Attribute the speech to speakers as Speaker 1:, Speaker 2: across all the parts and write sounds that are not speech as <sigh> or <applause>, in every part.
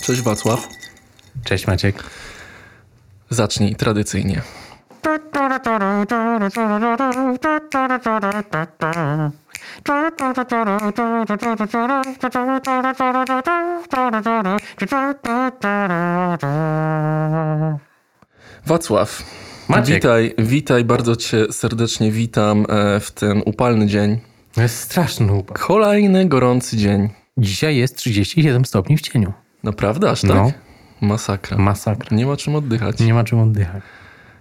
Speaker 1: Cześć Wacław.
Speaker 2: Cześć Maciek.
Speaker 1: Zacznij tradycyjnie. Wacław,
Speaker 2: Maciek.
Speaker 1: witaj, witaj, bardzo cię serdecznie witam e, w ten upalny dzień.
Speaker 2: To jest straszny upał.
Speaker 1: Kolejny gorący dzień.
Speaker 2: Dzisiaj jest 37 stopni w cieniu.
Speaker 1: Naprawdę aż tak?
Speaker 2: No.
Speaker 1: Masakra.
Speaker 2: Masakra.
Speaker 1: Nie ma czym oddychać.
Speaker 2: Nie ma czym oddychać.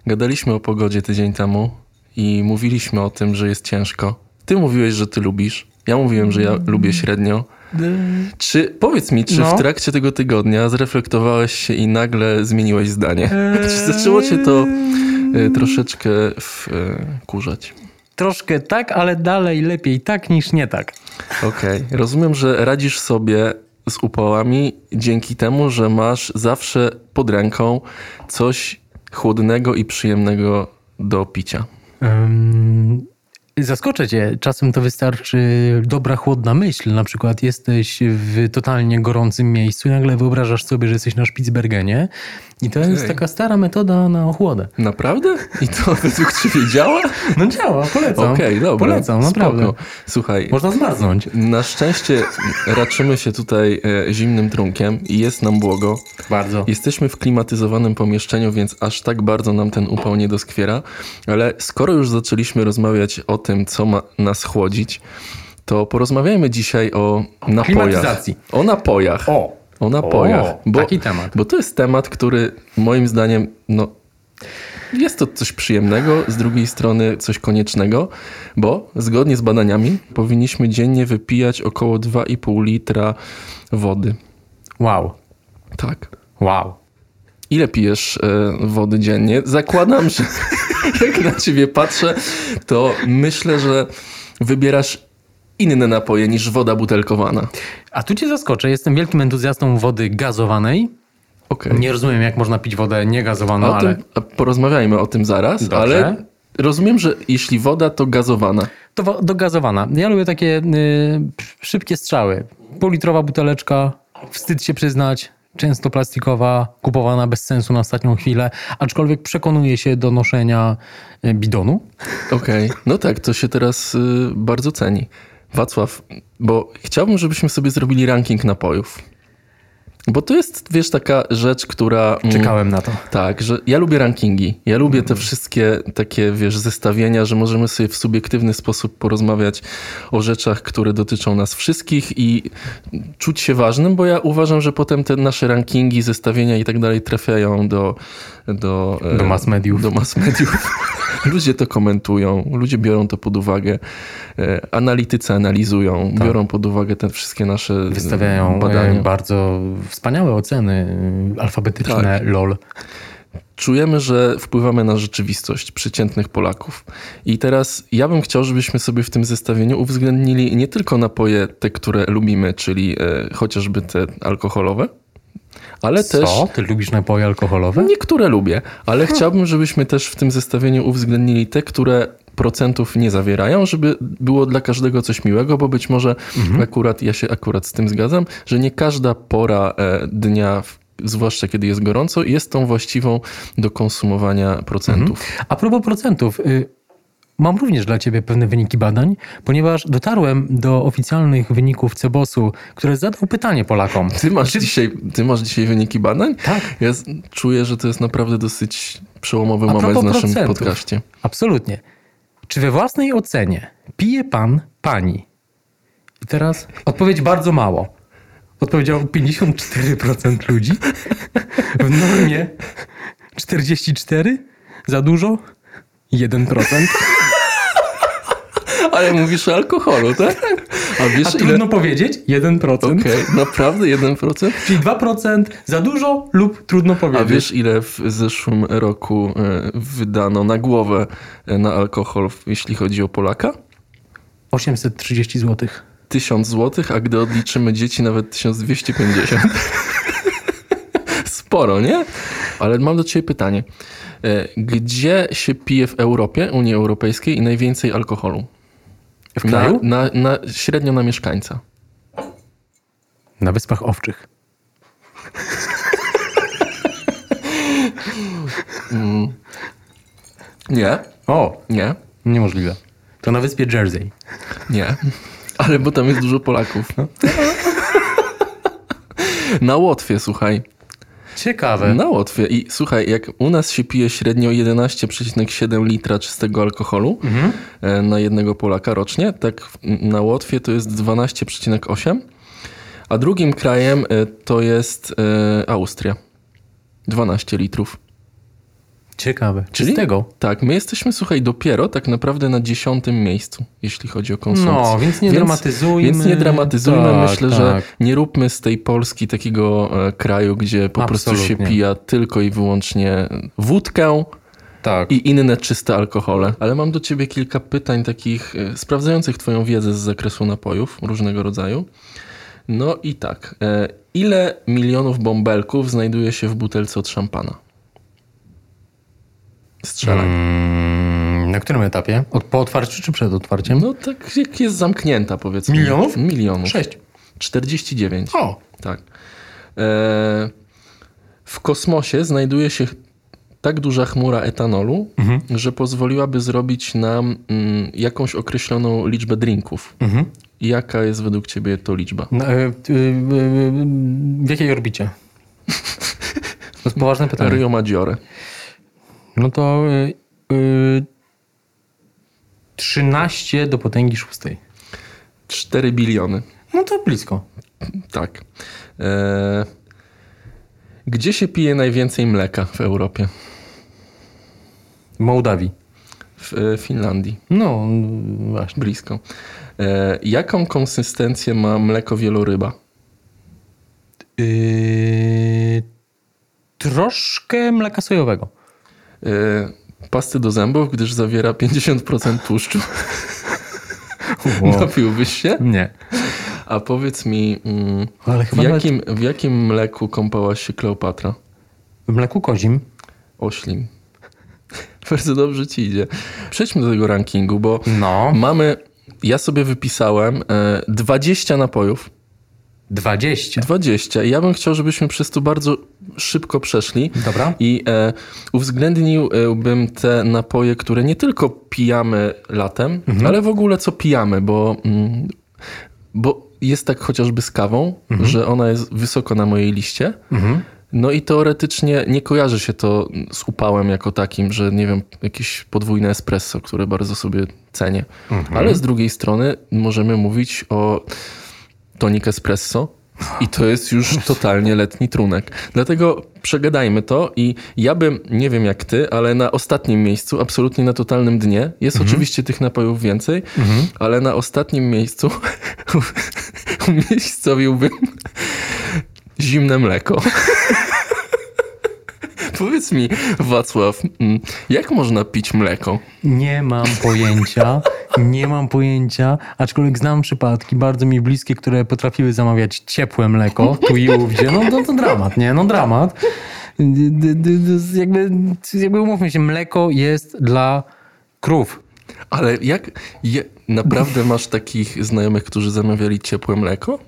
Speaker 1: Gadaliśmy o pogodzie tydzień temu i mówiliśmy o tym, że jest ciężko. Ty mówiłeś, że ty lubisz. Ja mówiłem, że ja lubię średnio. Czy powiedz mi, czy
Speaker 2: No.
Speaker 1: w trakcie tego tygodnia zreflektowałeś się i nagle zmieniłeś zdanie? <laughs> Czy zaczęło cię to e, troszeczkę w, e, kurzać?
Speaker 2: Troszkę tak, ale dalej lepiej tak niż nie tak.
Speaker 1: Okej. <laughs> Rozumiem, że radzisz sobie z upałami dzięki temu, że masz zawsze pod ręką coś chłodnego i przyjemnego do picia.
Speaker 2: Ym, Zaskoczę cię, czasem to wystarczy dobra chłodna myśl. Na przykład jesteś w totalnie gorącym miejscu i nagle wyobrażasz sobie, że jesteś na Spitsbergenie. I to jest
Speaker 1: Okej.
Speaker 2: taka stara metoda na ochłodę.
Speaker 1: Naprawdę? I to <laughs> według ciebie działa?
Speaker 2: No działa, polecam.
Speaker 1: Okej, dobra.
Speaker 2: Polecam, naprawdę.
Speaker 1: Spoko. Słuchaj,
Speaker 2: Można zmarznąć.
Speaker 1: na szczęście raczymy się tutaj e, zimnym trunkiem i jest nam błogo.
Speaker 2: Bardzo.
Speaker 1: Jesteśmy w klimatyzowanym pomieszczeniu, więc aż tak bardzo nam ten upał nie doskwiera. Ale skoro już zaczęliśmy rozmawiać o tym, co ma nas chłodzić, to porozmawiajmy dzisiaj o napojach.
Speaker 2: Klimatyzacji.
Speaker 1: O napojach.
Speaker 2: O!
Speaker 1: O napojach.
Speaker 2: O, taki temat.
Speaker 1: Bo to jest temat, który moim zdaniem, no, jest to coś przyjemnego, z drugiej strony coś koniecznego, bo zgodnie z badaniami powinniśmy dziennie wypijać około 2,5 litra wody.
Speaker 2: Wow.
Speaker 1: Tak.
Speaker 2: Wow.
Speaker 1: Ile pijesz e, wody dziennie? Zakładam, że <laughs> jak na ciebie patrzę, to myślę, że wybierasz inne napoje niż woda butelkowana.
Speaker 2: A tu cię zaskoczę, jestem wielkim entuzjastą wody gazowanej.
Speaker 1: Okej.
Speaker 2: Nie rozumiem, jak można pić wodę niegazowaną,
Speaker 1: O
Speaker 2: No, ale
Speaker 1: tym, No, a porozmawiajmy o tym zaraz,
Speaker 2: Dobrze.
Speaker 1: ale rozumiem, że jeśli woda, to gazowana.
Speaker 2: to wo- dogazowana. Ja lubię takie y, szybkie strzały. Półlitrowa buteleczka, wstyd się przyznać, często plastikowa, kupowana bez sensu na ostatnią chwilę, aczkolwiek przekonuje się do noszenia y, bidonu.
Speaker 1: Okej, <laughs> no tak, to się teraz y, bardzo ceni. Wacław, bo chciałbym, żebyśmy sobie zrobili ranking napojów. Bo to jest, wiesz, taka rzecz, która... mm,
Speaker 2: Czekałem na to.
Speaker 1: Tak, że ja lubię rankingi. Ja lubię te wszystkie takie, wiesz, zestawienia, że możemy sobie w subiektywny sposób porozmawiać o rzeczach, które dotyczą nas wszystkich i czuć się ważnym, bo ja uważam, że potem te nasze rankingi, zestawienia i tak dalej trafiają do... Do, e,
Speaker 2: Do mass mediów.
Speaker 1: Do mass
Speaker 2: <laughs>
Speaker 1: mediów. Ludzie to komentują, ludzie biorą to pod uwagę, e, analitycy analizują, biorą pod uwagę te wszystkie nasze e,
Speaker 2: Tak. Wystawiają
Speaker 1: badania.
Speaker 2: y, bardzo wspaniałe oceny y, alfabetyczne,
Speaker 1: Tak.
Speaker 2: lol.
Speaker 1: czujemy, że wpływamy na rzeczywistość przeciętnych Polaków. I teraz ja bym chciał, żebyśmy sobie w tym zestawieniu uwzględnili nie tylko napoje te, które lubimy, czyli e, chociażby te alkoholowe, ale też
Speaker 2: Co? Ty lubisz napoje alkoholowe?
Speaker 1: No, niektóre lubię, ale chciałbym, żebyśmy też w tym zestawieniu uwzględnili te, które procentów nie zawierają, żeby było dla każdego coś miłego, bo być może
Speaker 2: Mhm.
Speaker 1: akurat, ja się akurat z tym zgadzam, że nie każda pora e, dnia, w- zwłaszcza kiedy jest gorąco, jest tą właściwą do konsumowania procentów.
Speaker 2: A propos procentów, y, mam również dla Ciebie pewne wyniki badań, ponieważ dotarłem do oficjalnych wyników Cebosu, które zadał pytanie Polakom.
Speaker 1: Ty masz, dzisiaj, ty masz dzisiaj wyniki badań?
Speaker 2: Tak.
Speaker 1: Ja z- czuję, że to jest naprawdę dosyć przełomowy moment w
Speaker 2: propos
Speaker 1: naszym
Speaker 2: procentów.
Speaker 1: podcaście.
Speaker 2: Absolutnie. Czy we własnej ocenie pije Pan, Pani? I teraz odpowiedź bardzo mało. Odpowiedziało 54% ludzi. W normie 44? Za dużo? 1%.
Speaker 1: Ale mówisz o alkoholu,
Speaker 2: <laughs>
Speaker 1: tak? A wiesz
Speaker 2: A
Speaker 1: ile...
Speaker 2: trudno powiedzieć? 1%.
Speaker 1: Okej, naprawdę 1%?
Speaker 2: Czyli 2% za dużo lub trudno
Speaker 1: A
Speaker 2: powiedzieć.
Speaker 1: wiesz, ile w zeszłym roku e, wydano na głowę e, na alkohol, w- jeśli chodzi o Polaka?
Speaker 2: 830 zł.
Speaker 1: 1000 zł, a gdy odliczymy dzieci, nawet 1250. <laughs> Sporo, nie? Ale mam do Ciebie pytanie. E, Gdzie się pije w Europie, Unii Europejskiej i najwięcej alkoholu?
Speaker 2: W
Speaker 1: Na,
Speaker 2: kraju?
Speaker 1: na, na, średnio na mieszkańca.
Speaker 2: Na Wyspach Owczych.
Speaker 1: Mm. Nie,
Speaker 2: O,
Speaker 1: nie,
Speaker 2: niemożliwe. To na wyspie Jersey.
Speaker 1: nie. Ale bo tam jest dużo Polaków.
Speaker 2: <laughs>
Speaker 1: No. Na Łotwie, słuchaj.
Speaker 2: Ciekawe.
Speaker 1: Na Łotwie. No, I słuchaj, jak u nas się pije średnio 11,7 litra czystego alkoholu e, na jednego Polaka rocznie, tak w- na Łotwie to jest 12,8. A drugim krajem e, to jest e, Austria. 12 litrów.
Speaker 2: Ciekawe.
Speaker 1: Czyli-
Speaker 2: Czystego.
Speaker 1: Tak, my jesteśmy, słuchaj, dopiero tak naprawdę na dziesiątym miejscu, jeśli chodzi o konsumpcję.
Speaker 2: No, więc nie dramatyzujmy.
Speaker 1: Więc nie dramatyzujmy.
Speaker 2: Tak,
Speaker 1: Myślę,
Speaker 2: tak.
Speaker 1: że nie róbmy z tej Polski takiego e, kraju, gdzie po prostu się
Speaker 2: Absolutnie.
Speaker 1: pija tylko i wyłącznie wódkę
Speaker 2: Tak.
Speaker 1: i inne czyste alkohole. Ale mam do ciebie kilka pytań takich e, sprawdzających twoją wiedzę z zakresu napojów różnego rodzaju. No i tak, e, ile milionów bąbelków znajduje się w butelce od szampana? Strzelaj.
Speaker 2: Hmm. Mm, na którym etapie? Od, po otwarciu czy przed otwarciem?
Speaker 1: No tak jak jest zamknięta powiedzmy.
Speaker 2: Milionów?
Speaker 1: Milionów.
Speaker 2: Sześć.
Speaker 1: 49.
Speaker 2: O,
Speaker 1: Tak. E, w kosmosie znajduje się tak duża chmura etanolu, że pozwoliłaby zrobić nam mm, jakąś określoną liczbę drinków. Jaka jest według ciebie to liczba?
Speaker 2: No, e, t- e, e, w jakiej orbicie? To jest poważne pytanie.
Speaker 1: Rio Maggiore.
Speaker 2: No to e, e, 13 do potęgi szóstej.
Speaker 1: 4 biliony.
Speaker 2: No to blisko.
Speaker 1: Tak. E, gdzie się pije najwięcej mleka w Europie?
Speaker 2: W Mołdawii.
Speaker 1: W e, Finlandii.
Speaker 2: No mm, właśnie.
Speaker 1: Blisko. E, jaką konsystencję ma mleko wieloryba?
Speaker 2: E, troszkę mleka sojowego.
Speaker 1: E, pasty do zębów, gdyż zawiera 50% tłuszczu. <laughs> Napiłbyś się?
Speaker 2: Nie.
Speaker 1: A powiedz mi, mm,
Speaker 2: Ale
Speaker 1: w
Speaker 2: chyba nawet
Speaker 1: jakim, w jakim mleku kąpałaś się Kleopatra?
Speaker 2: w mleku kozim.
Speaker 1: Oślim. <laughs> Bardzo dobrze ci idzie. Przejdźmy do tego rankingu, bo
Speaker 2: No.
Speaker 1: mamy... Ja sobie wypisałem e, 20 napojów.
Speaker 2: 20.
Speaker 1: 20. I ja bym chciał, żebyśmy przez to bardzo szybko przeszli.
Speaker 2: Dobra.
Speaker 1: I e, uwzględniłbym te napoje, które nie tylko pijamy latem, ale w ogóle co pijamy, bo, mm, bo jest tak chociażby z kawą, że ona jest wysoko na mojej liście. No i teoretycznie nie kojarzy się to z upałem jako takim, że nie wiem, jakieś podwójne espresso, które bardzo sobie cenię. Ale z drugiej strony możemy mówić o tonik espresso. I to jest już totalnie letni trunek. Dlatego przegadajmy to i ja bym, nie wiem jak ty, ale na ostatnim miejscu, absolutnie na totalnym dnie, jest oczywiście tych napojów więcej, ale na ostatnim miejscu <laughs> umiejscowiłbym zimne mleko. <laughs> Powiedz mi, Wacław, mm, jak można pić mleko?
Speaker 2: Nie mam pojęcia, nie mam pojęcia, aczkolwiek znam przypadki bardzo mi bliskie, które potrafiły zamawiać ciepłe mleko tu i ówdzie. No to, to dramat, nie? No dramat. D- d- d- d- Jakby, jakby umówmy się, mleko jest dla krów.
Speaker 1: Ale jak je, naprawdę masz takich znajomych, którzy zamawiali ciepłe mleko?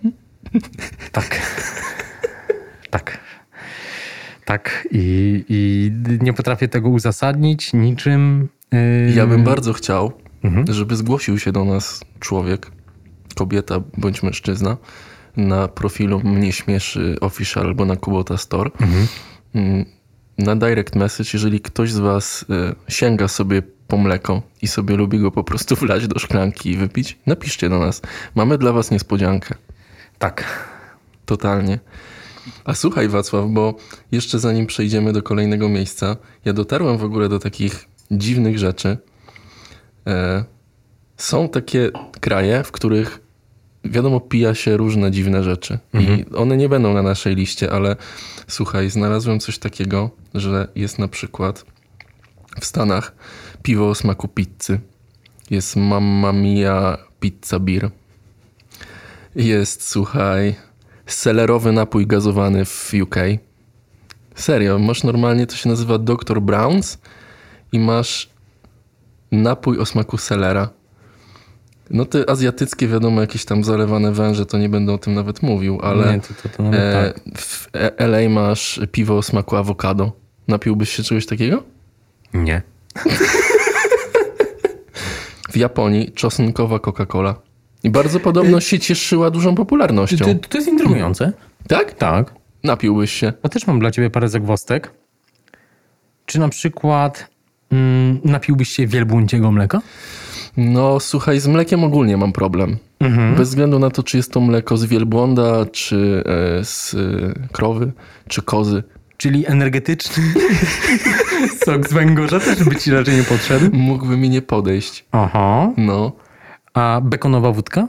Speaker 2: Tak. <laughs> Tak. Tak. I, i nie potrafię tego uzasadnić niczym. Yy,
Speaker 1: Ja bym bardzo chciał, żeby zgłosił się do nas człowiek, kobieta bądź mężczyzna na profilu Mnie Śmieszy Official albo na Kubota Store. Mm, Na direct message, jeżeli ktoś z was y, sięga sobie po mleko i sobie lubi go po prostu wlać do szklanki i wypić, napiszcie do nas. Mamy dla was niespodziankę.
Speaker 2: Tak.
Speaker 1: Totalnie. A słuchaj, Wacław, bo jeszcze zanim przejdziemy do kolejnego miejsca, ja dotarłem w ogóle do takich dziwnych rzeczy. E, są takie kraje, w których wiadomo, pija się różne dziwne rzeczy. I one nie będą na naszej liście, ale słuchaj, znalazłem coś takiego, że jest na przykład w Stanach piwo o smaku pizzy. Jest Mamma Mia Pizza Beer. Jest, słuchaj, selerowy napój gazowany w UK. Serio, masz normalnie, to się nazywa Dr. Browns i masz napój o smaku selera. No te azjatyckie, wiadomo, jakieś tam zalewane węże, to nie będę o tym nawet mówił, ale
Speaker 2: Nie, to, to, to nawet
Speaker 1: e,
Speaker 2: tak.
Speaker 1: w E- LA masz piwo o smaku awokado. Napiłbyś się czegoś takiego?
Speaker 2: Nie.
Speaker 1: W Japonii czosnkowa Coca-Cola. I bardzo podobno się cieszyła dużą popularnością.
Speaker 2: To, to jest intrygujące.
Speaker 1: Tak?
Speaker 2: Tak.
Speaker 1: Napiłbyś się.
Speaker 2: Ja też mam dla ciebie parę zagwostek. Czy na przykład mm, napiłbyś się wielbłądziego mleka?
Speaker 1: No słuchaj, z mlekiem ogólnie mam problem. Bez względu na to, czy jest to mleko z wielbłąda, czy e, z e, krowy, czy kozy.
Speaker 2: Czyli energetyczny <laughs> sok z węgorza też by ci raczej nie podszedł.
Speaker 1: Mógłby mi nie podejść.
Speaker 2: Aha.
Speaker 1: No,
Speaker 2: A bekonowa wódka?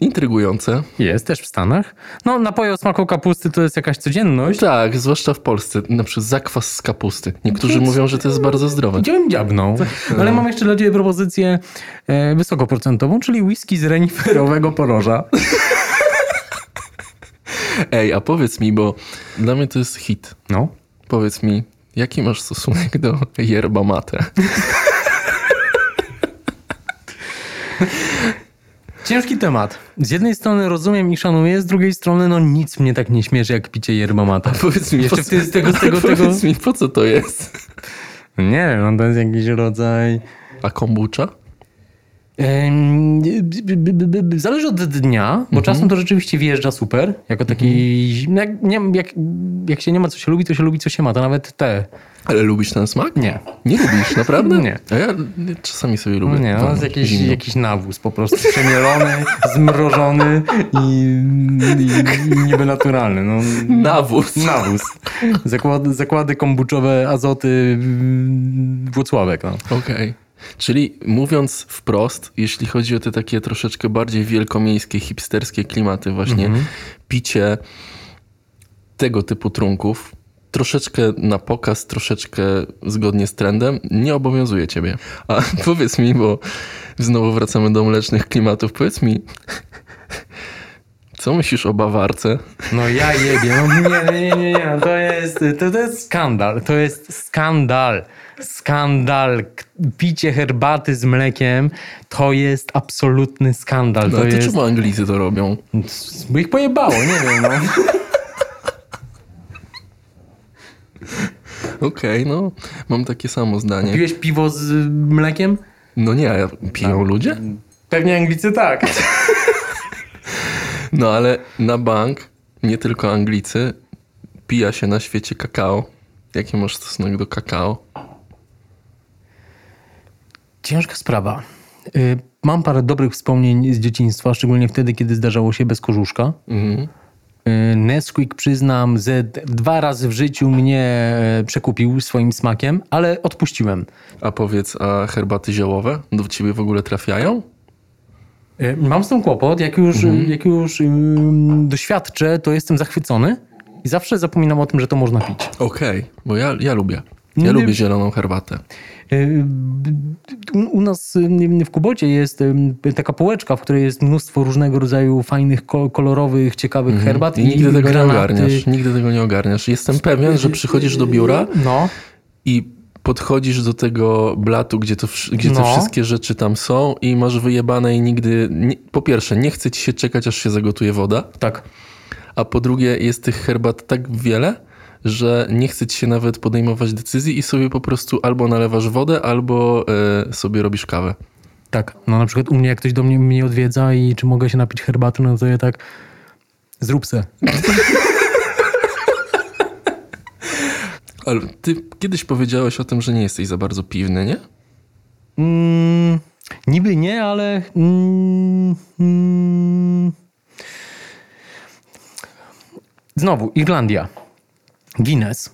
Speaker 1: intrygujące.
Speaker 2: Jest, też w Stanach. No, napoje o smaku kapusty to jest jakaś codzienność.
Speaker 1: Tak, zwłaszcza w Polsce. Na przykład zakwas z kapusty. Niektórzy
Speaker 2: Więc-
Speaker 1: mówią, że to jest bardzo zdrowe.
Speaker 2: Idziemy dziabną. No, ale mam jeszcze dla ciebie propozycję e, wysokoprocentową, czyli whisky z reniferowego poroża.
Speaker 1: Ej, a powiedz mi, bo dla mnie to jest hit.
Speaker 2: No.
Speaker 1: Powiedz mi, jaki masz stosunek do yerba mate?
Speaker 2: Ciężki temat. Z jednej strony rozumiem i szanuję, z drugiej strony no nic mnie tak nie śmieszy jak picie yerba mate.
Speaker 1: Powiedz mi,
Speaker 2: Jeszcze
Speaker 1: po co-
Speaker 2: wtedy z tego- z tego- tego-
Speaker 1: <laughs> Powiedz mi, po co to jest?
Speaker 2: Nie wiem, no to jest jakiś rodzaj...
Speaker 1: A kombucha?
Speaker 2: Em, b- b- b- b- b- Zależy od dnia, bo czasem to rzeczywiście wyjeżdża super, jako taki, no jak, nie, jak, jak się nie ma co się lubi, to się lubi co się ma, to nawet te,
Speaker 1: Ale lubisz ten smak?
Speaker 2: nie,
Speaker 1: Nie lubisz, naprawdę?
Speaker 2: Nie.
Speaker 1: A ja nie, czasami sobie lubię.
Speaker 2: nie,
Speaker 1: Tam
Speaker 2: no, jest jakiś,
Speaker 1: zimno.
Speaker 2: jakiś nawóz po prostu, przemielony, <laughs> zmrożony i, i, i niby naturalny, no,
Speaker 1: Nawóz.
Speaker 2: nawóz, zakłady, zakłady kombuczowe, azoty, mm, Włocławek, no.
Speaker 1: Okej. Czyli mówiąc wprost, jeśli chodzi o te takie troszeczkę bardziej wielkomiejskie, hipsterskie klimaty, właśnie
Speaker 2: Mhm.
Speaker 1: picie tego typu trunków, troszeczkę na pokaz, troszeczkę zgodnie z trendem, nie obowiązuje ciebie. A <laughs> powiedz mi, bo znowu wracamy do mlecznych klimatów, powiedz mi, co myślisz o bawarce?
Speaker 2: No ja jebie, no nie, nie, nie, nie, nie. no To, jest, to, to jest skandal, to jest skandal, skandal. K- Picie herbaty z mlekiem to jest absolutny skandal.
Speaker 1: No,
Speaker 2: to
Speaker 1: to
Speaker 2: jest...
Speaker 1: czemu Anglicy to robią?
Speaker 2: By ich pojebało, nie <laughs> wiem. No.
Speaker 1: Okej, no, mam takie samo zdanie.
Speaker 2: Piłeś piwo z y, mlekiem?
Speaker 1: No nie, a
Speaker 2: Tak.
Speaker 1: piją ludzie?
Speaker 2: Pewnie Anglicy tak.
Speaker 1: No ale na bank, nie tylko Anglicy, pija się na świecie kakao. Jaki masz stosunek do kakao?
Speaker 2: <laughs> Ciężka sprawa. Y, Mam parę dobrych wspomnień z dzieciństwa, szczególnie wtedy, kiedy zdarzało się bez korzuszka.
Speaker 1: Mhm.
Speaker 2: Y, Nesquik, przyznam, ze dwa razy w życiu mnie e, przekupił swoim smakiem, ale odpuściłem.
Speaker 1: A powiedz, a herbaty ziołowe do ciebie w ogóle trafiają?
Speaker 2: Y, Mam z tym kłopot. Jak już, jak już ym, doświadczę, to jestem zachwycony i zawsze zapominam o tym, że to można pić.
Speaker 1: Okej, bo ja, ja lubię. Ja
Speaker 2: Nie-
Speaker 1: lubię zieloną herbatę.
Speaker 2: Y, u- U nas y, w Kubocie jest ym, taka półeczka, w której jest mnóstwo różnego rodzaju fajnych, ko- kolorowych, ciekawych herbat.
Speaker 1: I nigdy tego nie
Speaker 2: granaty.
Speaker 1: ogarniasz. Nigdy tego nie ogarniasz. Jestem pewien, że przychodzisz do biura
Speaker 2: No.
Speaker 1: i podchodzisz do tego blatu, gdzie, to, wsz- gdzie te
Speaker 2: No.
Speaker 1: wszystkie rzeczy tam są i masz wyjebane i nigdy... Nie, po pierwsze, nie chce ci się czekać, aż się zagotuje woda.
Speaker 2: Tak.
Speaker 1: A po drugie, jest tych herbat tak wiele, że nie chce ci się nawet podejmować decyzji i sobie po prostu albo nalewasz wodę, albo e, sobie robisz kawę.
Speaker 2: Tak. No na przykład u mnie, jak ktoś do mnie, mnie odwiedza i czy mogę się napić herbaty, no to ja tak zrób se.
Speaker 1: Ale ty kiedyś powiedziałeś o tym, że nie jesteś za bardzo piwny, nie?
Speaker 2: Mm, niby nie, ale. Mm, mm. Znowu, Irlandia. Guinness.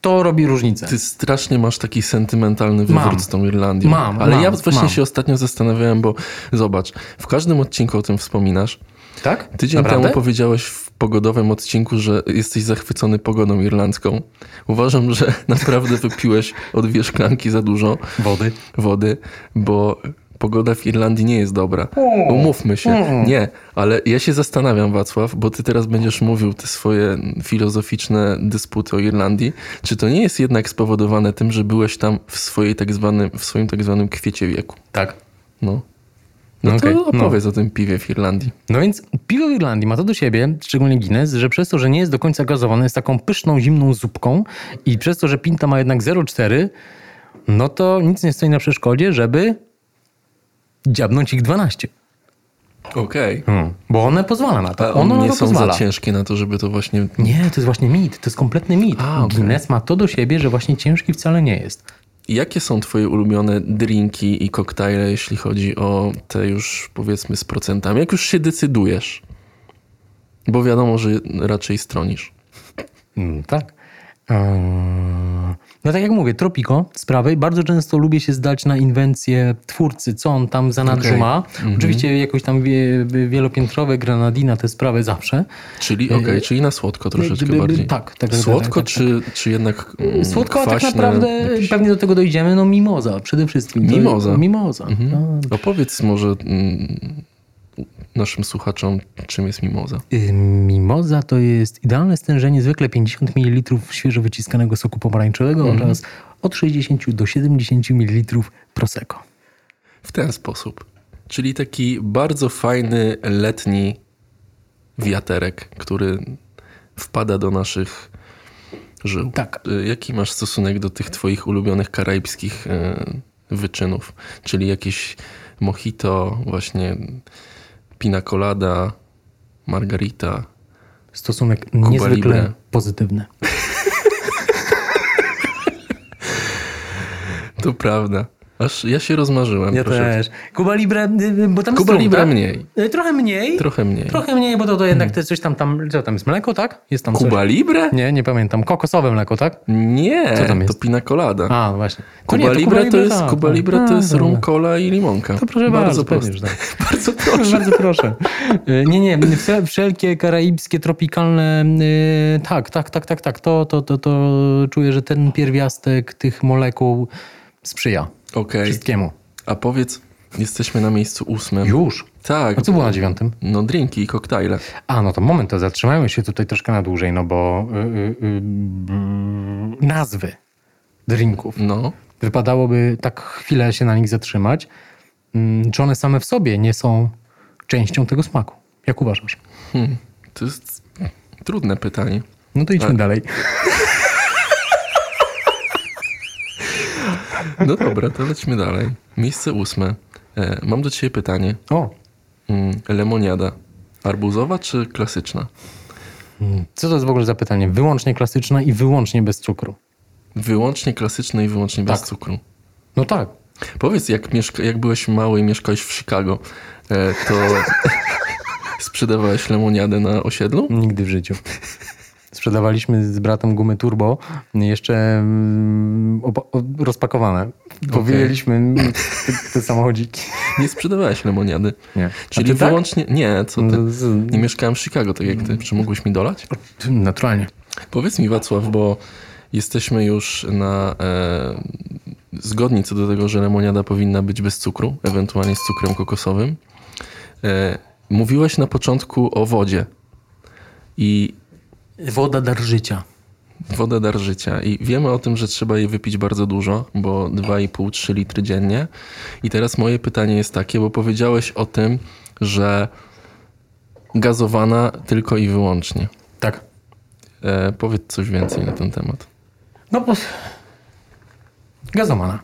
Speaker 2: To robi różnicę.
Speaker 1: Ty strasznie masz taki sentymentalny wywrót
Speaker 2: Mam.
Speaker 1: z tą Irlandią.
Speaker 2: Mam,
Speaker 1: Ale ja
Speaker 2: mam,
Speaker 1: właśnie
Speaker 2: mam.
Speaker 1: się ostatnio zastanawiałem, bo zobacz, w każdym odcinku o tym wspominasz.
Speaker 2: tak?
Speaker 1: Tydzień
Speaker 2: Naprawdę?
Speaker 1: temu powiedziałeś w pogodowym odcinku, że jesteś zachwycony pogodą irlandzką. Uważam, że <laughs> naprawdę wypiłeś od dwie szklanki za dużo.
Speaker 2: Wody.
Speaker 1: wody, bo pogoda w Irlandii nie jest dobra. Umówmy się.
Speaker 2: Mm.
Speaker 1: Nie, ale ja się zastanawiam, Wacław, bo ty teraz będziesz mówił te swoje filozoficzne dysputy o Irlandii. Czy to nie jest jednak spowodowane tym, że byłeś tam w, swojej tak zwanym, w swoim tak zwanym kwiecie wieku?
Speaker 2: Tak.
Speaker 1: No.
Speaker 2: No, Okej,
Speaker 1: to
Speaker 2: no.
Speaker 1: opowiedz o tym piwie w Irlandii.
Speaker 2: No więc piwo w Irlandii ma to do siebie, szczególnie Guinness, że przez to, że nie jest do końca gazowane, jest taką pyszną, zimną zupką i przez to, że pinta ma jednak 0,4, no to nic nie stoi na przeszkodzie, żeby dziabnąć ich 12.
Speaker 1: Okej.
Speaker 2: Hmm. Bo one pozwala na
Speaker 1: A
Speaker 2: to. Ono
Speaker 1: one
Speaker 2: na
Speaker 1: nie
Speaker 2: to
Speaker 1: są
Speaker 2: pozwala.
Speaker 1: za ciężkie na to, żeby to właśnie...
Speaker 2: Nie, to jest właśnie mit, to jest kompletny mit.
Speaker 1: A, okej.
Speaker 2: Guinness ma to do siebie, że właśnie ciężki wcale nie jest.
Speaker 1: Jakie są twoje ulubione drinki i koktajle, jeśli chodzi o te już powiedzmy z procentami? Jak już się decydujesz? Bo wiadomo, że raczej stronisz.
Speaker 2: Mm, tak. Eee, No tak jak mówię, Tropico z prawej. Bardzo często lubię się zdać na inwencję twórcy, co on tam za nadrzu
Speaker 1: Okej. Mhm.
Speaker 2: ma. Oczywiście jakoś tam wie, wielopiętrowe granadina te sprawy zawsze.
Speaker 1: Czyli okej, czyli na słodko troszeczkę
Speaker 2: E, gdyby-
Speaker 1: bardziej.
Speaker 2: tak, tak, tak,
Speaker 1: Słodko
Speaker 2: tak, tak,
Speaker 1: czy, czy jednak mm,
Speaker 2: Słodko, a tak
Speaker 1: kwaśne?
Speaker 2: naprawdę pewnie do tego dojdziemy. No mimoza przede wszystkim. To-
Speaker 1: Mimoza. Mhm.
Speaker 2: Mimoza. No,
Speaker 1: Opowiedz może mm, naszym słuchaczom, czym jest mimoza.
Speaker 2: Y, Mimoza to jest idealne stężenie zwykle 50 ml świeżo wyciskanego soku pomarańczowego oraz od 60 do 70 ml prosecco.
Speaker 1: W ten sposób. Czyli taki bardzo fajny letni wiaterek, który wpada do naszych żył.
Speaker 2: Tak.
Speaker 1: Y, Jaki masz stosunek do tych twoich ulubionych karaibskich y, wyczynów? Czyli jakieś mojito, właśnie pina colada, margarita.
Speaker 2: Stosunek niezwykle
Speaker 1: Libre.
Speaker 2: pozytywny.
Speaker 1: To prawda. Aż ja się rozmarzyłem.
Speaker 2: Ja
Speaker 1: proszę
Speaker 2: też. Kuba Libre, y, y, bo tam jest
Speaker 1: Kuba
Speaker 2: rum,
Speaker 1: Libre
Speaker 2: tak?
Speaker 1: mniej.
Speaker 2: Y, Trochę mniej.
Speaker 1: cię. Trochę mniej.
Speaker 2: Trochę mniej, bo to, to jednak to jest coś tam, tam, co tam jest, mleko, tak? Jest tam
Speaker 1: Kuba
Speaker 2: coś.
Speaker 1: Libre?
Speaker 2: Nie, nie pamiętam. Kokosowe mleko, tak?
Speaker 1: Nie,
Speaker 2: Co tam
Speaker 1: to
Speaker 2: jest?
Speaker 1: pina colada.
Speaker 2: A, no właśnie. To
Speaker 1: Kuba,
Speaker 2: nie, to
Speaker 1: Libre to jest,
Speaker 2: tak,
Speaker 1: Kuba
Speaker 2: tak.
Speaker 1: Libre to
Speaker 2: A,
Speaker 1: jest
Speaker 2: dobra.
Speaker 1: rum, cola i limonka.
Speaker 2: To proszę bardzo, pewnie, że
Speaker 1: proste.
Speaker 2: tak.
Speaker 1: bardzo
Speaker 2: Proszę.
Speaker 1: proszę.
Speaker 2: <laughs> Bardzo proszę. Y, Nie, nie, wsze- wszelkie karaibskie, tropikalne, y, tak, tak, tak, tak, tak, to, to, to, to czuję, że ten pierwiastek tych molekuł sprzyja
Speaker 1: Okej,
Speaker 2: wszystkiemu.
Speaker 1: a powiedz, jesteśmy na miejscu ósmym.
Speaker 2: Już.
Speaker 1: Tak,
Speaker 2: A co było na dziewiątym?
Speaker 1: no drinki i koktajle.
Speaker 2: A, no to moment, to zatrzymajmy się tutaj troszkę na dłużej, no bo y, y, y, nazwy drinków.
Speaker 1: No,
Speaker 2: Wypadałoby tak chwilę się na nich zatrzymać. Mm, Czy one same w sobie nie są częścią tego smaku? Jak uważasz?
Speaker 1: hmm. to jest trudne pytanie.
Speaker 2: No to idźmy
Speaker 1: Tak.
Speaker 2: dalej.
Speaker 1: No dobra, to lećmy dalej. Miejsce ósme. E, mam do ciebie pytanie.
Speaker 2: O,
Speaker 1: Mm, lemoniada. Arbuzowa czy klasyczna?
Speaker 2: Co to jest w ogóle za pytanie? Wyłącznie klasyczna i wyłącznie bez cukru.
Speaker 1: Wyłącznie klasyczna i wyłącznie bez
Speaker 2: Tak.
Speaker 1: cukru.
Speaker 2: No tak.
Speaker 1: Powiedz, jak, mieszka- jak byłeś mały i mieszkałeś w Chicago, e,
Speaker 2: <laughs>
Speaker 1: to sprzedawałeś lemoniadę na osiedlu?
Speaker 2: Nigdy w życiu. <laughs> Sprzedawaliśmy z bratem gumy turbo, jeszcze mm, opa- o- rozpakowane. Powijaliśmy <laughs> te, te samochodziki.
Speaker 1: Nie sprzedawałeś lemoniady.
Speaker 2: Nie.
Speaker 1: Czyli wyłącznie... Nie, co ty?
Speaker 2: Z- No, z- <laughs>
Speaker 1: Nie mieszkałem w Chicago, tak jak ty. Czy mógłbyś mi dolać?
Speaker 2: Naturalnie.
Speaker 1: Powiedz mi, Wacław, bo jesteśmy już na... E, zgodni co do tego, że lemoniada powinna być bez cukru, ewentualnie z cukrem kokosowym. E, mówiłeś na początku o wodzie. I
Speaker 2: Woda dar życia.
Speaker 1: Woda dar życia i wiemy o tym, że trzeba jej wypić bardzo dużo, bo 2,5-3 litry dziennie. I teraz moje pytanie jest takie, bo powiedziałeś o tym, że gazowana tylko i wyłącznie.
Speaker 2: Tak.
Speaker 1: E, powiedz coś więcej na ten temat.
Speaker 2: No bo... Gazomana.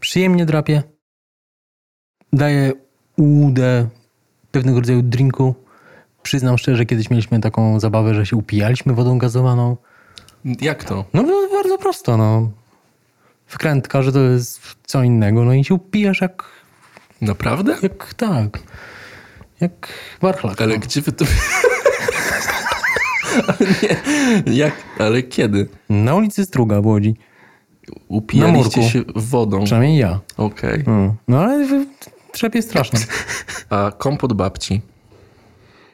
Speaker 2: Przyjemnie drapie. Daje ułudę pewnego rodzaju drinku. Przyznam szczerze, kiedyś mieliśmy taką zabawę, że się upijaliśmy wodą gazowaną.
Speaker 1: Jak to?
Speaker 2: No bo bardzo prosto, no. Wkrętka, że to jest co innego. No i się upijasz jak,
Speaker 1: Naprawdę?
Speaker 2: jak tak. Jak warchlak.
Speaker 1: Ale gdzie wy to... <laughs> Ale nie, jak, ale kiedy?
Speaker 2: Na ulicy Struga w Łodzi. Na murku.
Speaker 1: Upijaliście się wodą.
Speaker 2: Przynajmniej ja.
Speaker 1: Okej.
Speaker 2: Mm. No ale w- trzepie straszne.
Speaker 1: A kompot babci?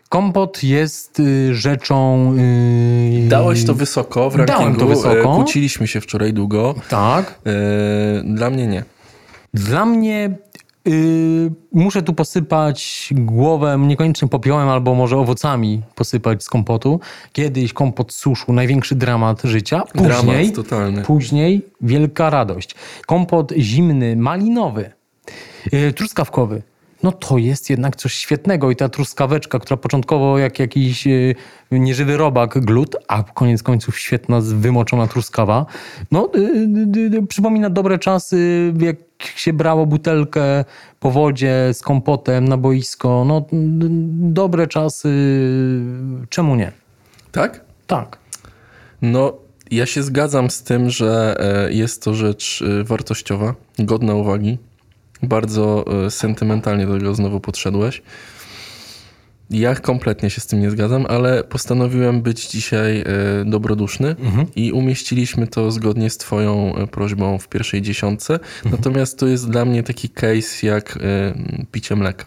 Speaker 2: Kompot jest y, rzeczą... Y,
Speaker 1: Dałeś to wysoko w
Speaker 2: Dałem to
Speaker 1: rankingu. E,
Speaker 2: wysoko.
Speaker 1: Kłóciliśmy się wczoraj długo.
Speaker 2: Tak.
Speaker 1: Yy, Dla mnie nie.
Speaker 2: Dla mnie y, muszę tu posypać głowę niekoniecznie popiołem albo może owocami posypać z kompotu. Kiedyś kompot suszu, największy dramat życia. Później,
Speaker 1: Dramat totalny.
Speaker 2: później wielka radość. Kompot zimny, malinowy, y, truskawkowy. no to jest jednak coś świetnego. I ta truskaweczka, która początkowo jak jakiś yy, nieżywy robak glut, a koniec końców świetna, wymoczona truskawa, no yy, yy, przypomina dobre czasy, jak się brało butelkę po wodzie z kompotem na boisko. No dobre czasy, y, czemu nie?
Speaker 1: Tak?
Speaker 2: Tak.
Speaker 1: No, ja się zgadzam z tym, że e, jest to rzecz e, wartościowa, godna uwagi. Bardzo e, sentymentalnie do tego znowu podszedłeś. Ja kompletnie się z tym nie zgadzam, ale postanowiłem być dzisiaj e, dobroduszny
Speaker 2: Mhm.
Speaker 1: i umieściliśmy to zgodnie z Twoją e, prośbą w pierwszej dziesiątce.
Speaker 2: Mhm.
Speaker 1: Natomiast to jest dla mnie taki case jak e, picie mleka.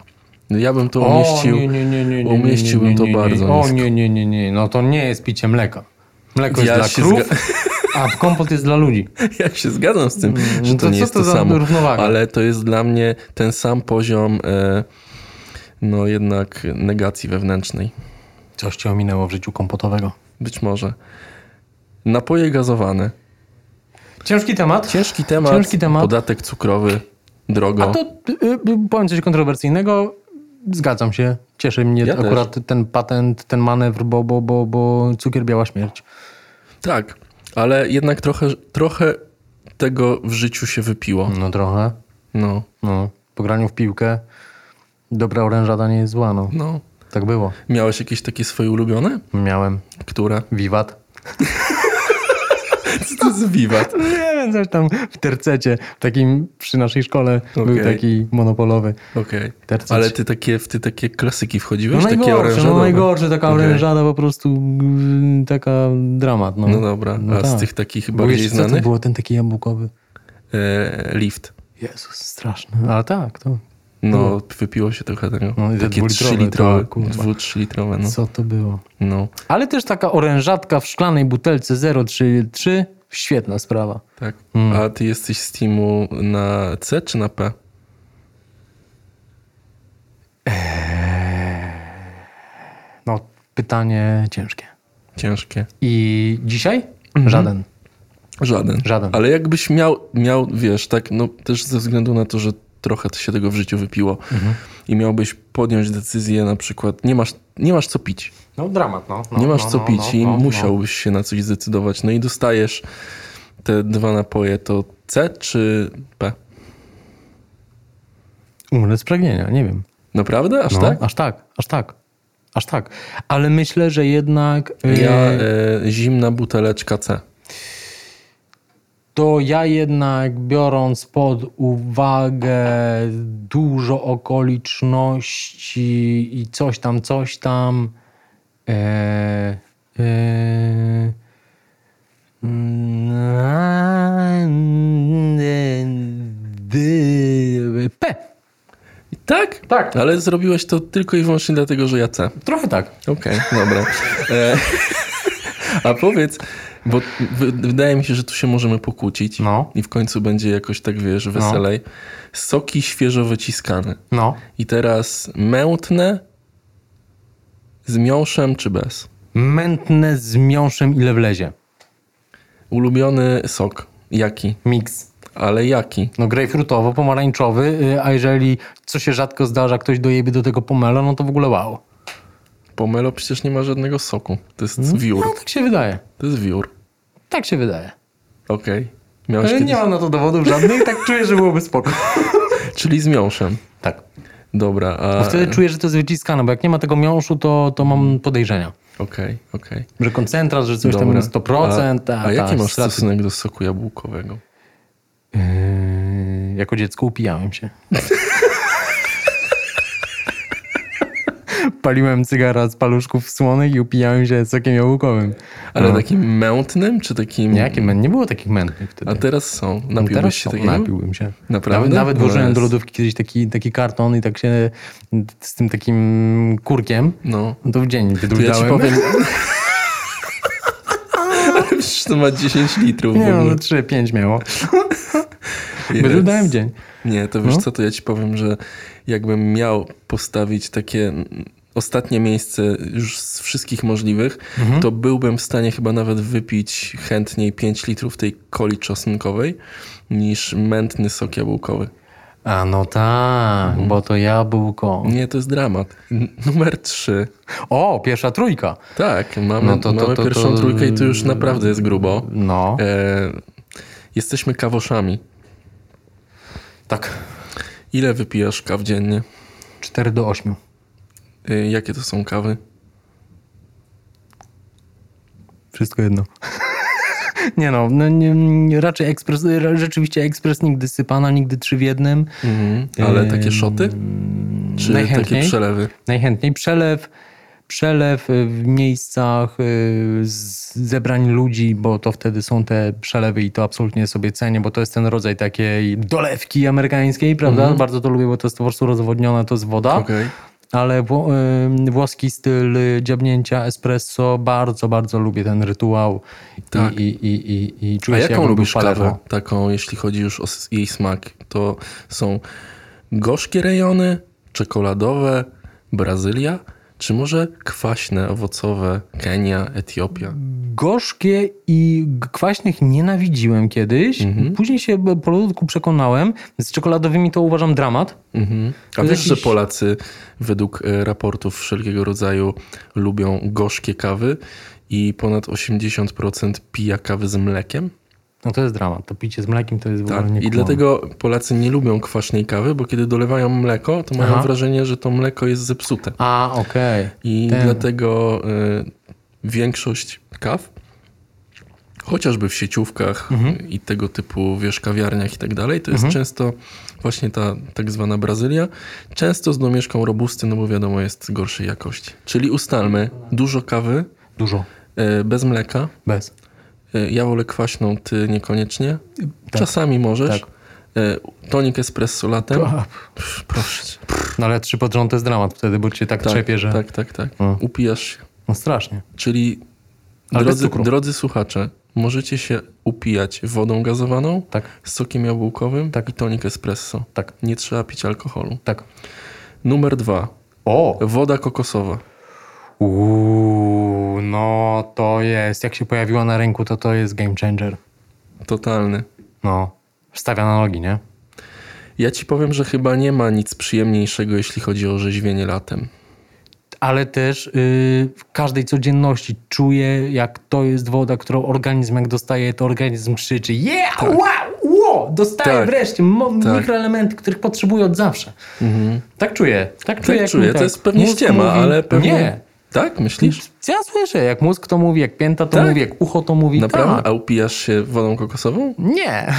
Speaker 1: Ja bym to umieścił.
Speaker 2: O, nie, nie, nie, nie, nie,
Speaker 1: umieściłbym
Speaker 2: nie, nie,
Speaker 1: to
Speaker 2: nie, nie.
Speaker 1: bardzo
Speaker 2: O
Speaker 1: nisko.
Speaker 2: nie, nie, nie, nie, no to nie jest picie mleka. Mleko
Speaker 1: Ja
Speaker 2: jest
Speaker 1: się
Speaker 2: dla krów, <laughs>
Speaker 1: zga-
Speaker 2: a kompot jest dla ludzi.
Speaker 1: <laughs> Ja się zgadzam z tym, że to,
Speaker 2: Mm, no to
Speaker 1: nie
Speaker 2: co
Speaker 1: jest
Speaker 2: to
Speaker 1: to,
Speaker 2: za
Speaker 1: samo,
Speaker 2: równowaga?
Speaker 1: ale to jest dla mnie ten sam poziom e, no jednak negacji wewnętrznej.
Speaker 2: Coś cię ominęło w życiu kompotowego.
Speaker 1: Być może. Napoje gazowane.
Speaker 2: Ciężki temat.
Speaker 1: Ciężki temat.
Speaker 2: Ciężki temat.
Speaker 1: Podatek cukrowy. Drogo.
Speaker 2: A to y, y, powiem coś kontrowersyjnego. Zgadzam się. Cieszy mnie
Speaker 1: Ja też.
Speaker 2: akurat ten patent, ten manewr, bo, bo, bo, bo cukier biała śmierć.
Speaker 1: Tak, ale jednak trochę, trochę tego w życiu się wypiło.
Speaker 2: No trochę.
Speaker 1: No,
Speaker 2: No. Po graniu w piłkę dobra orężada nie jest zła, no.
Speaker 1: no.
Speaker 2: Tak było.
Speaker 1: Miałeś jakieś takie swoje ulubione?
Speaker 2: Miałem <laughs>
Speaker 1: Które?
Speaker 2: wiwat.
Speaker 1: Co to jest wiwat?
Speaker 2: Nie wiem, coś tam w tercecie, w takim przy naszej szkole był
Speaker 1: Okej.
Speaker 2: taki monopolowy.
Speaker 1: Okej.
Speaker 2: Tercet.
Speaker 1: Ale ty takie, w ty takie klasyki
Speaker 2: No
Speaker 1: wchodziłeś? takie
Speaker 2: najgorszy, no
Speaker 1: orężadowe?
Speaker 2: najgorszy, taka
Speaker 1: Okej.
Speaker 2: orężada po prostu, mm, taka dramat. No,
Speaker 1: No dobra, a z
Speaker 2: tak.
Speaker 1: tych takich
Speaker 2: Bo
Speaker 1: bardziej
Speaker 2: jeszcze co to
Speaker 1: znanych?
Speaker 2: było, ten taki jabłkowy?
Speaker 1: E, lift.
Speaker 2: Jezus, straszny. Ale tak, to,
Speaker 1: No, wypiło się trochę tego.
Speaker 2: No i te
Speaker 1: Takie
Speaker 2: dwulitrowe,
Speaker 1: 3 litrowe.
Speaker 2: tak, kurwa.
Speaker 1: 2-3 litrowe, no.
Speaker 2: co to było?
Speaker 1: no.
Speaker 2: Ale też taka orężatka w szklanej butelce 033, świetna sprawa.
Speaker 1: Tak.
Speaker 2: Mm.
Speaker 1: A ty jesteś z teamu na C czy na P?
Speaker 2: No, pytanie ciężkie.
Speaker 1: Ciężkie.
Speaker 2: I dzisiaj?
Speaker 1: Mhm.
Speaker 2: Żaden.
Speaker 1: Żaden.
Speaker 2: Żaden.
Speaker 1: Ale jakbyś miał, miał, wiesz, tak, no też ze względu na to, że trochę się tego w życiu wypiło
Speaker 2: Mhm.
Speaker 1: i miałbyś podjąć decyzję na przykład, nie masz, nie masz co pić.
Speaker 2: No dramat, no.
Speaker 1: nie masz co pić i musiałbyś się na coś zdecydować. No i dostajesz te dwa napoje, to C czy P?
Speaker 2: Umrę z pragnienia, nie wiem.
Speaker 1: Naprawdę? Aż
Speaker 2: No,
Speaker 1: tak?
Speaker 2: Aż tak, aż tak. Aż tak. Ale myślę, że jednak y,
Speaker 1: Ja e, zimna buteleczka C.
Speaker 2: to ja jednak biorąc pod uwagę dużo okoliczności i coś tam, coś tam. y, y, y, P.
Speaker 1: Tak?
Speaker 2: Tak.
Speaker 1: Ale zrobiłeś to tylko i wyłącznie dlatego, że ja C.
Speaker 2: Trochę tak.
Speaker 1: Okej, dobra. E, <laughs> a powiedz, bo w, wydaje mi się, że tu się możemy pokłócić
Speaker 2: No.
Speaker 1: i w końcu będzie jakoś tak, wiesz, weselej. Soki świeżo wyciskane.
Speaker 2: No.
Speaker 1: I teraz mętne z miąższem czy bez?
Speaker 2: Mętne z miąższem ile wlezie.
Speaker 1: Ulubiony sok. Jaki?
Speaker 2: Miks.
Speaker 1: Ale jaki?
Speaker 2: No grejpfrutowo, pomarańczowy, y, a jeżeli, co się rzadko zdarza, ktoś dojebie do tego pomelo, no to w ogóle wow.
Speaker 1: Pomelo przecież nie ma żadnego soku. To jest wiór.
Speaker 2: No tak się wydaje.
Speaker 1: To jest wiór.
Speaker 2: Tak się wydaje.
Speaker 1: Okej. Miałeś
Speaker 2: Ale
Speaker 1: kiedyś...
Speaker 2: nie mam na to dowodów żadnych, tak czuję, że
Speaker 1: <laughs>
Speaker 2: byłoby spoko.
Speaker 1: Czyli z miąższem.
Speaker 2: Tak.
Speaker 1: Dobra, a...
Speaker 2: Bo wtedy czuję, że to jest wyciskane, bo jak nie ma tego miąższu, to, to mam podejrzenia.
Speaker 1: Okej, okej.
Speaker 2: Że koncentrat, że coś tam
Speaker 1: Dobra.
Speaker 2: jest 100%.
Speaker 1: A, a jaki masz
Speaker 2: tak, straty-
Speaker 1: stosunek do soku jabłkowego?
Speaker 2: Yy, jako dziecko
Speaker 1: <laughs>
Speaker 2: upijałem się. Paliłem cygara z paluszków słonych i upijałem się sokiem jabłkowym.
Speaker 1: Ale takim mętnym, czy takim...
Speaker 2: No. Nie, jakie mę- nie było takich mętnych wtedy.
Speaker 1: A teraz są.
Speaker 2: No
Speaker 1: Napiłbyś
Speaker 2: teraz
Speaker 1: się
Speaker 2: są,
Speaker 1: takiego?
Speaker 2: Napiłbym się.
Speaker 1: Naprawdę?
Speaker 2: Nawet, nawet
Speaker 1: No
Speaker 2: włożyłem do
Speaker 1: jest.
Speaker 2: lodówki kiedyś taki, taki karton i tak się z tym takim kurkiem
Speaker 1: No. <laughs>
Speaker 2: no to w dzień
Speaker 1: To ja ci
Speaker 2: wydłużałem.
Speaker 1: powiem... Przecież to ma 10 litrów w
Speaker 2: <laughs> nie, no,
Speaker 1: ogóle.
Speaker 2: 3-5 miało.
Speaker 1: Jest.
Speaker 2: Wydłużałem w dzień.
Speaker 1: Nie, to wiesz
Speaker 2: No.
Speaker 1: co, to ja ci powiem, że jakbym miał postawić takie mm, ostatnie miejsce już z wszystkich możliwych,
Speaker 2: Mhm.
Speaker 1: to byłbym w stanie chyba nawet wypić chętniej 5 litrów tej coli czosnkowej niż mętny sok jabłkowy.
Speaker 2: A no tak,
Speaker 1: Mhm.
Speaker 2: bo to jabłko.
Speaker 1: Nie, to jest dramat. N- Numer trzy.
Speaker 2: O, pierwsza trójka.
Speaker 1: Tak, mamy,
Speaker 2: No to- to-
Speaker 1: mamy
Speaker 2: to-
Speaker 1: pierwszą
Speaker 2: to-
Speaker 1: trójkę i to już naprawdę jest grubo.
Speaker 2: No,
Speaker 1: E, jesteśmy kawoszami.
Speaker 2: tak.
Speaker 1: Ile wypijasz kaw dziennie?
Speaker 2: 4 do 8.
Speaker 1: E, jakie to są kawy?
Speaker 2: Wszystko jedno. <laughs> nie no, no nie, nie, raczej ekspres, ra- rzeczywiście ekspres nigdy sypana, nigdy trzy w jednym.
Speaker 1: Mm. Ale
Speaker 2: Ym,
Speaker 1: takie szoty? Czy takie
Speaker 2: Mhm. najchętniej.
Speaker 1: przelewy?
Speaker 2: Najchętniej przelew, przelew y, w miejscach y, z- zebrań ludzi, bo to wtedy są te przelewy i to absolutnie sobie cenię, bo to jest ten rodzaj takiej dolewki amerykańskiej, prawda? Bardzo to lubię, bo to jest po prostu rozwodnione, to jest woda.
Speaker 1: Mhm. Okej.
Speaker 2: Ale wło, ym, włoski styl y, dziabnięcia espresso, bardzo, bardzo lubię ten rytuał.
Speaker 1: Tak.
Speaker 2: I, i, i, i, i
Speaker 1: A
Speaker 2: czuję się
Speaker 1: jaką
Speaker 2: jakbym
Speaker 1: lubisz
Speaker 2: był w Palermo.
Speaker 1: kawę? Taką, jeśli chodzi już o s- jej smak. To są gorzkie rejony, czekoladowe, Brazylia, czy może kwaśne, owocowe, Kenia, Etiopia?
Speaker 2: Gorzkie i g- kwaśnych nienawidziłem kiedyś.
Speaker 1: Mhm.
Speaker 2: Później się b- powolutku przekonałem. Z czekoladowymi to uważam dramat.
Speaker 1: Mhm. A
Speaker 2: To
Speaker 1: wiesz,
Speaker 2: jest
Speaker 1: że
Speaker 2: jakiś-
Speaker 1: Polacy według e, raportów wszelkiego rodzaju lubią gorzkie kawy i ponad 80% pija kawy z mlekiem?
Speaker 2: No to jest dramat. To picie z mlekiem to jest w
Speaker 1: Tak.
Speaker 2: ogóle nie
Speaker 1: I dlatego Polacy nie lubią kwaśnej kawy, bo kiedy dolewają mleko, to mają
Speaker 2: Aha.
Speaker 1: wrażenie, że to mleko jest zepsute.
Speaker 2: A, okej.
Speaker 1: I
Speaker 2: Ten-
Speaker 1: dlatego y, większość kaw, chociażby w sieciówkach
Speaker 2: Mhm.
Speaker 1: y, i tego typu, wiesz, kawiarniach i tak dalej, to jest często właśnie ta tak zwana Brazylia, często z domieszką robusty, no bo wiadomo, jest gorszej jakości. Czyli ustalmy, dużo kawy,
Speaker 2: Dużo.
Speaker 1: y, bez mleka,
Speaker 2: Bez.
Speaker 1: y, ja wolę kwaśną, ty niekoniecznie, czasami możesz,
Speaker 2: Tak.
Speaker 1: y, tonik espresso latem,
Speaker 2: A,
Speaker 1: Pff, proszę cię.
Speaker 2: No ale trzy pod rząd to jest dramat wtedy, bo cię tak,
Speaker 1: Tak,
Speaker 2: trzepie, że...
Speaker 1: tak, tak, tak,
Speaker 2: No.
Speaker 1: upijasz się.
Speaker 2: No strasznie.
Speaker 1: Czyli
Speaker 2: Ale bez
Speaker 1: drodzy,
Speaker 2: cukru.
Speaker 1: drodzy słuchacze, możecie się upijać wodą gazowaną,
Speaker 2: Tak,
Speaker 1: sokiem jabłkowym
Speaker 2: Tak.
Speaker 1: i tonik espresso.
Speaker 2: tak,
Speaker 1: Nie trzeba pić alkoholu.
Speaker 2: tak.
Speaker 1: Numer dwa.
Speaker 2: O!
Speaker 1: Woda kokosowa.
Speaker 2: Uuu, no to jest. Jak się pojawiła na rynku, to to jest game changer.
Speaker 1: Totalny.
Speaker 2: No. Stawia na nogi, nie?
Speaker 1: Ja ci powiem, że chyba nie ma nic przyjemniejszego, jeśli chodzi o rzeźwienie latem.
Speaker 2: ale też yy, w każdej codzienności czuję, jak to jest woda, którą organizm jak dostaje, to organizm krzyczy yeah, wow, wow, dostaję
Speaker 1: Tak.
Speaker 2: wreszcie mo-
Speaker 1: Tak. Mhm.
Speaker 2: mikroelementy, których potrzebuję od zawsze. Tak czuję, tak czuję.
Speaker 1: Tak
Speaker 2: jak
Speaker 1: czuję.
Speaker 2: mi
Speaker 1: To jest pewnie
Speaker 2: mózg
Speaker 1: ściema,
Speaker 2: mówi-
Speaker 1: ale pewnie...
Speaker 2: Nie,
Speaker 1: Tak? Myślisz?
Speaker 2: ja słyszę, jak mózg to mówi, jak pięta to
Speaker 1: Tak?
Speaker 2: mówi, jak ucho to mówi.
Speaker 1: Naprawdę?
Speaker 2: Tak.
Speaker 1: A upijasz się wodą kokosową?
Speaker 2: Nie.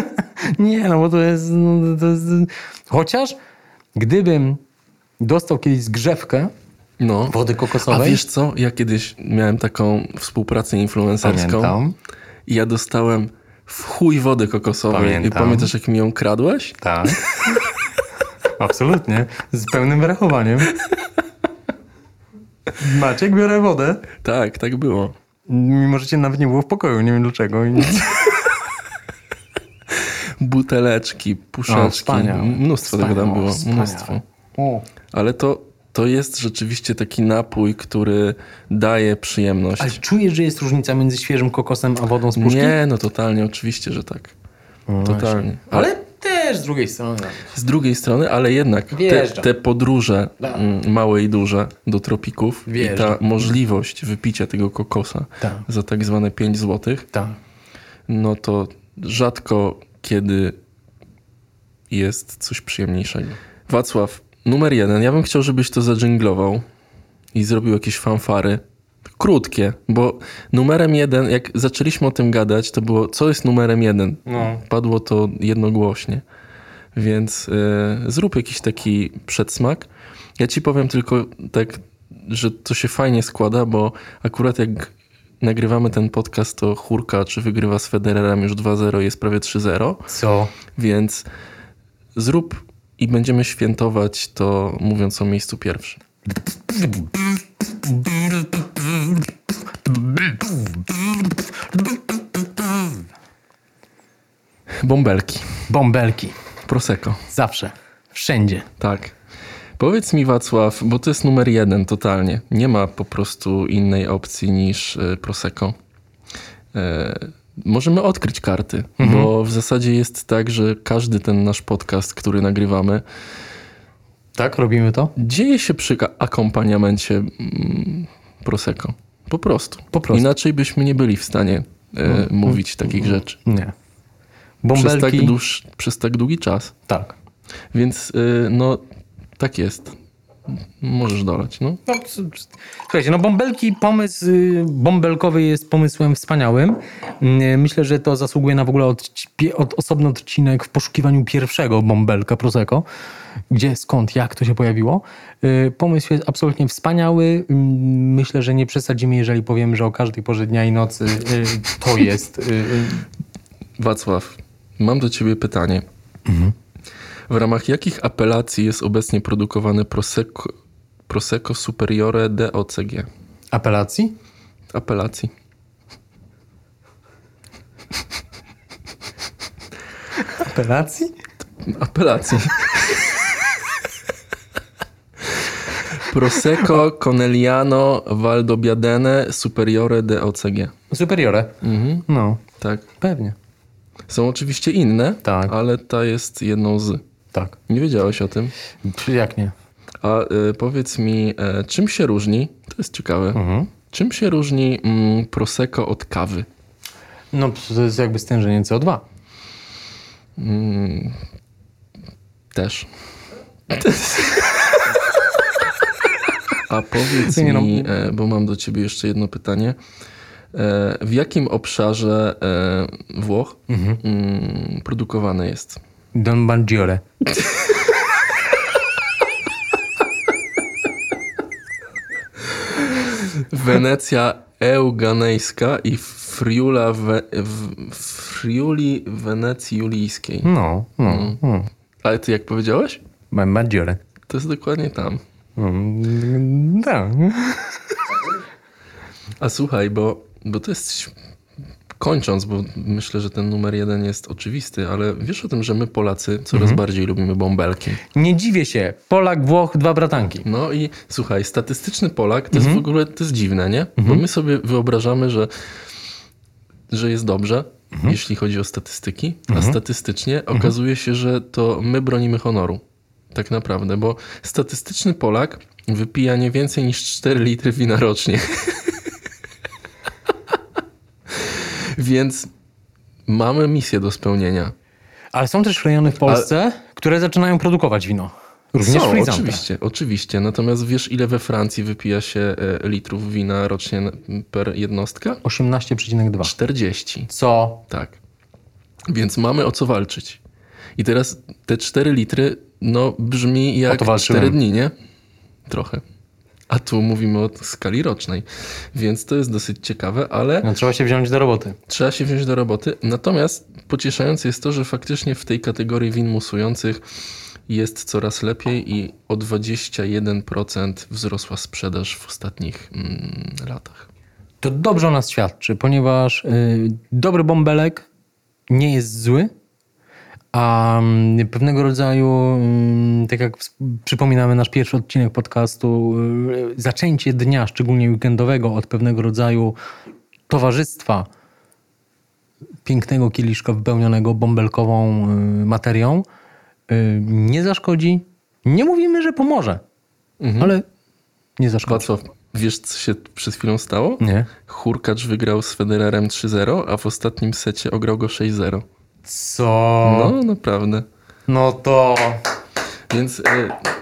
Speaker 2: <laughs> nie, no bo to jest, no, to jest... Chociaż gdybym dostał kiedyś zgrzewkę
Speaker 1: No.
Speaker 2: wody
Speaker 1: A
Speaker 2: kokosowej...
Speaker 1: wiesz co? Ja kiedyś miałem taką współpracę influencerską.
Speaker 2: Pamiętam.
Speaker 1: I ja dostałem w chuj wody kokosowej.
Speaker 2: Pamiętam.
Speaker 1: I pamiętasz, jak mi ją kradłeś?
Speaker 2: Tak. Absolutnie. Z pełnym wyrachowaniem. Maciek, biorę wodę.
Speaker 1: Tak, tak było.
Speaker 2: Mimo, że cię nawet nie było w pokoju, nie wiem dlaczego. I-
Speaker 1: Buteleczki,
Speaker 2: O,
Speaker 1: puszeczki,
Speaker 2: wspaniałe.
Speaker 1: No, mnóstwo tego tam
Speaker 2: Wspaniałe,
Speaker 1: było,
Speaker 2: wspaniałe.
Speaker 1: mnóstwo.
Speaker 2: O.
Speaker 1: Ale to, to jest rzeczywiście taki napój, który daje przyjemność.
Speaker 2: Ale czujesz, że jest różnica między świeżym kokosem a wodą z puszki? No
Speaker 1: Nie, no totalnie, oczywiście, że tak. Totalnie. Ale
Speaker 2: Ale też z drugiej strony.
Speaker 1: z drugiej strony, ale jednak te,
Speaker 2: Wjeżdżam.
Speaker 1: te podróże
Speaker 2: Tak.
Speaker 1: mm, małe i duże do tropików i ta
Speaker 2: Wjeżdżam.
Speaker 1: możliwość wypicia tego kokosa
Speaker 2: Tak.
Speaker 1: za tak zwane 5 złotych,
Speaker 2: Tak.
Speaker 1: no to rzadko kiedy jest coś przyjemniejszego. Wacław, numer jeden. Ja bym chciał, żebyś to zadżinglował i zrobił jakieś fanfary. Krótkie, bo numerem jeden, jak zaczęliśmy o tym gadać, to było, co jest numerem jeden?
Speaker 2: No.
Speaker 1: Padło to jednogłośnie. Więc y, zrób jakiś taki przedsmak. Ja ci powiem tylko tak, że to się fajnie składa, bo akurat jak nagrywamy ten podcast, to Hurka czy wygrywa z Federerem już 2-0, jest prawie 3-0,
Speaker 2: Co?
Speaker 1: więc zrób i będziemy świętować to mówiąc o miejscu pierwszym. Bąbelki,
Speaker 2: Bąbelki.
Speaker 1: Prosecco.
Speaker 2: Zawsze. Wszędzie.
Speaker 1: Tak. Powiedz mi, Wacław, bo to jest numer jeden totalnie. Nie ma po prostu innej opcji niż y, Prosecco. E, możemy odkryć karty,
Speaker 2: Mhm.
Speaker 1: bo w zasadzie jest tak, że każdy ten nasz podcast, który nagrywamy,
Speaker 2: Tak, robimy to?
Speaker 1: dzieje się przy ka- akompaniamencie mm, Prosecco. Po prostu.
Speaker 2: Po prostu. No,
Speaker 1: Inaczej byśmy nie byli w stanie e, mówić takich rzeczy.
Speaker 2: Nie.
Speaker 1: Przez tak,
Speaker 2: Bąbelki.
Speaker 1: dłuż, przez tak długi czas.
Speaker 2: tak.
Speaker 1: Więc y, no, tak jest. Możesz dolać, no.
Speaker 2: No, c- c- słuchajcie, no bąbelki, pomysł y, bąbelkowy jest pomysłem wspaniałym. Mm, Myślę, że to zasługuje na w ogóle od, od osobny odcinek w poszukiwaniu pierwszego bąbelka Prosecco. Gdzie, skąd, jak to się pojawiło. Y, Pomysł jest absolutnie wspaniały. Mm, Myślę, że nie przesadzimy, jeżeli powiemy, że o każdej porze dnia i nocy y, to jest. y, y,
Speaker 1: Wacław, mam do ciebie pytanie. W ramach jakich apelacji jest obecnie produkowane Prosecco, Prosecco Superiore DOCG?
Speaker 2: Apelacji?
Speaker 1: Apelacji.
Speaker 2: Apelacji?
Speaker 1: Apelacji. Prosecco Conegliano Valdobbiadene Superiore DOCG.
Speaker 2: Superiore. No,
Speaker 1: Tak.
Speaker 2: pewnie.
Speaker 1: Są oczywiście inne,
Speaker 2: Tak.
Speaker 1: ale ta jest jedną z.
Speaker 2: Tak.
Speaker 1: Nie wiedziałeś o tym.
Speaker 2: Czy jak nie?
Speaker 1: A y, powiedz mi, e, czym się różni, to jest ciekawe,
Speaker 2: Mhm.
Speaker 1: czym się różni mm, Prosecco od kawy?
Speaker 2: No, to jest jakby stężenie CO2.
Speaker 1: Też. <laughs> A powiedz
Speaker 2: Nie, no.
Speaker 1: mi, e, bo mam do ciebie jeszcze jedno pytanie. E, W jakim obszarze e, Włoch
Speaker 2: Mhm.
Speaker 1: mm, produkowane jest?
Speaker 2: Don Bangiore.
Speaker 1: Wenecja Euganejska i Friula we, w, Friuli Wenecji Julijskiej.
Speaker 2: No,
Speaker 1: Mm.
Speaker 2: no. no.
Speaker 1: Ale ty jak powiedziałeś?
Speaker 2: Don Bangiore.
Speaker 1: To jest dokładnie tam.
Speaker 2: Mm, Tak.
Speaker 1: A słuchaj, bo, bo to jest. ś- Kończąc, bo myślę, że ten numer jeden jest oczywisty, ale wiesz o tym, że my Polacy coraz bardziej lubimy bąbelki.
Speaker 2: Nie dziwię się. Polak, Włoch, dwa bratanki.
Speaker 1: No i słuchaj, statystyczny Polak to jest w ogóle to jest dziwne, nie? Bo my sobie wyobrażamy, że, że jest dobrze, jeśli chodzi o statystyki, a statystycznie okazuje się, że to my bronimy honoru. Tak naprawdę, bo statystyczny Polak wypija nie więcej niż 4 litry wina rocznie. <laughs> Więc mamy misję do spełnienia.
Speaker 2: Ale są też rejony w Polsce, które zaczynają produkować wino. Również
Speaker 1: Są,
Speaker 2: fryzanta.
Speaker 1: oczywiście, oczywiście. Natomiast wiesz, ile we Francji wypija się e, litrów wina rocznie na- per jednostka?
Speaker 2: 18,2.
Speaker 1: 40.
Speaker 2: Co?
Speaker 1: Tak. Więc mamy o co walczyć. I teraz te 4 litry, no brzmi
Speaker 2: O
Speaker 1: jak
Speaker 2: to walczyłem.
Speaker 1: 4 dni, nie? Trochę. A tu mówimy o skali rocznej, więc to jest dosyć ciekawe, ale
Speaker 2: No, trzeba się wziąć do roboty.
Speaker 1: trzeba się wziąć do roboty. Natomiast pocieszające jest to, że faktycznie w tej kategorii win musujących jest coraz lepiej i o 21% wzrosła sprzedaż w ostatnich mm, latach.
Speaker 2: To dobrze o nas świadczy, ponieważ y, dobry bąbelek nie jest zły, a mm, pewnego rodzaju, mm, tak jak wsp- przypominamy nasz pierwszy odcinek podcastu, y, zaczęcie dnia, szczególnie weekendowego, od pewnego rodzaju towarzystwa pięknego kieliszka wypełnionego bąbelkową y, materią y, nie zaszkodzi. Nie mówimy, że pomoże, ale nie zaszkodzi.
Speaker 1: Wacław, wiesz co się przed chwilą stało?
Speaker 2: Nie.
Speaker 1: Hurkacz wygrał z Federerem 3-0, a w ostatnim secie ograł go 6-0.
Speaker 2: Co?
Speaker 1: No, naprawdę.
Speaker 2: No to
Speaker 1: Więc e,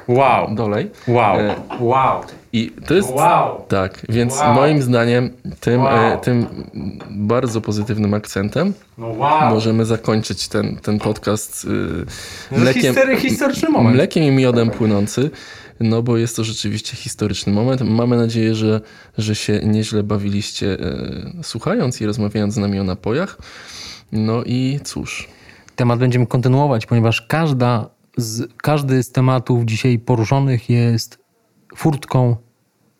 Speaker 2: wow,
Speaker 1: dolej.
Speaker 2: wow,
Speaker 1: E,
Speaker 2: wow,
Speaker 1: I to jest.
Speaker 2: wow.
Speaker 1: Tak, więc
Speaker 2: Wow.
Speaker 1: moim zdaniem tym,
Speaker 2: Wow.
Speaker 1: e, tym bardzo pozytywnym akcentem
Speaker 2: No wow.
Speaker 1: możemy zakończyć ten, ten podcast y,
Speaker 2: No history- historyczny moment.
Speaker 1: mlekiem i miodem płynący, no bo jest to rzeczywiście historyczny moment. Mamy nadzieję, że, że się nieźle bawiliście y, słuchając i rozmawiając z nami o napojach. No i cóż,
Speaker 2: Temat będziemy kontynuować, ponieważ każda z, każdy z tematów dzisiaj poruszonych jest furtką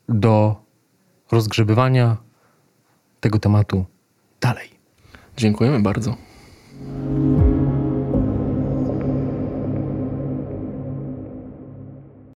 Speaker 2: do rozgrzebywania tego tematu dalej.
Speaker 1: dziękujemy bardzo.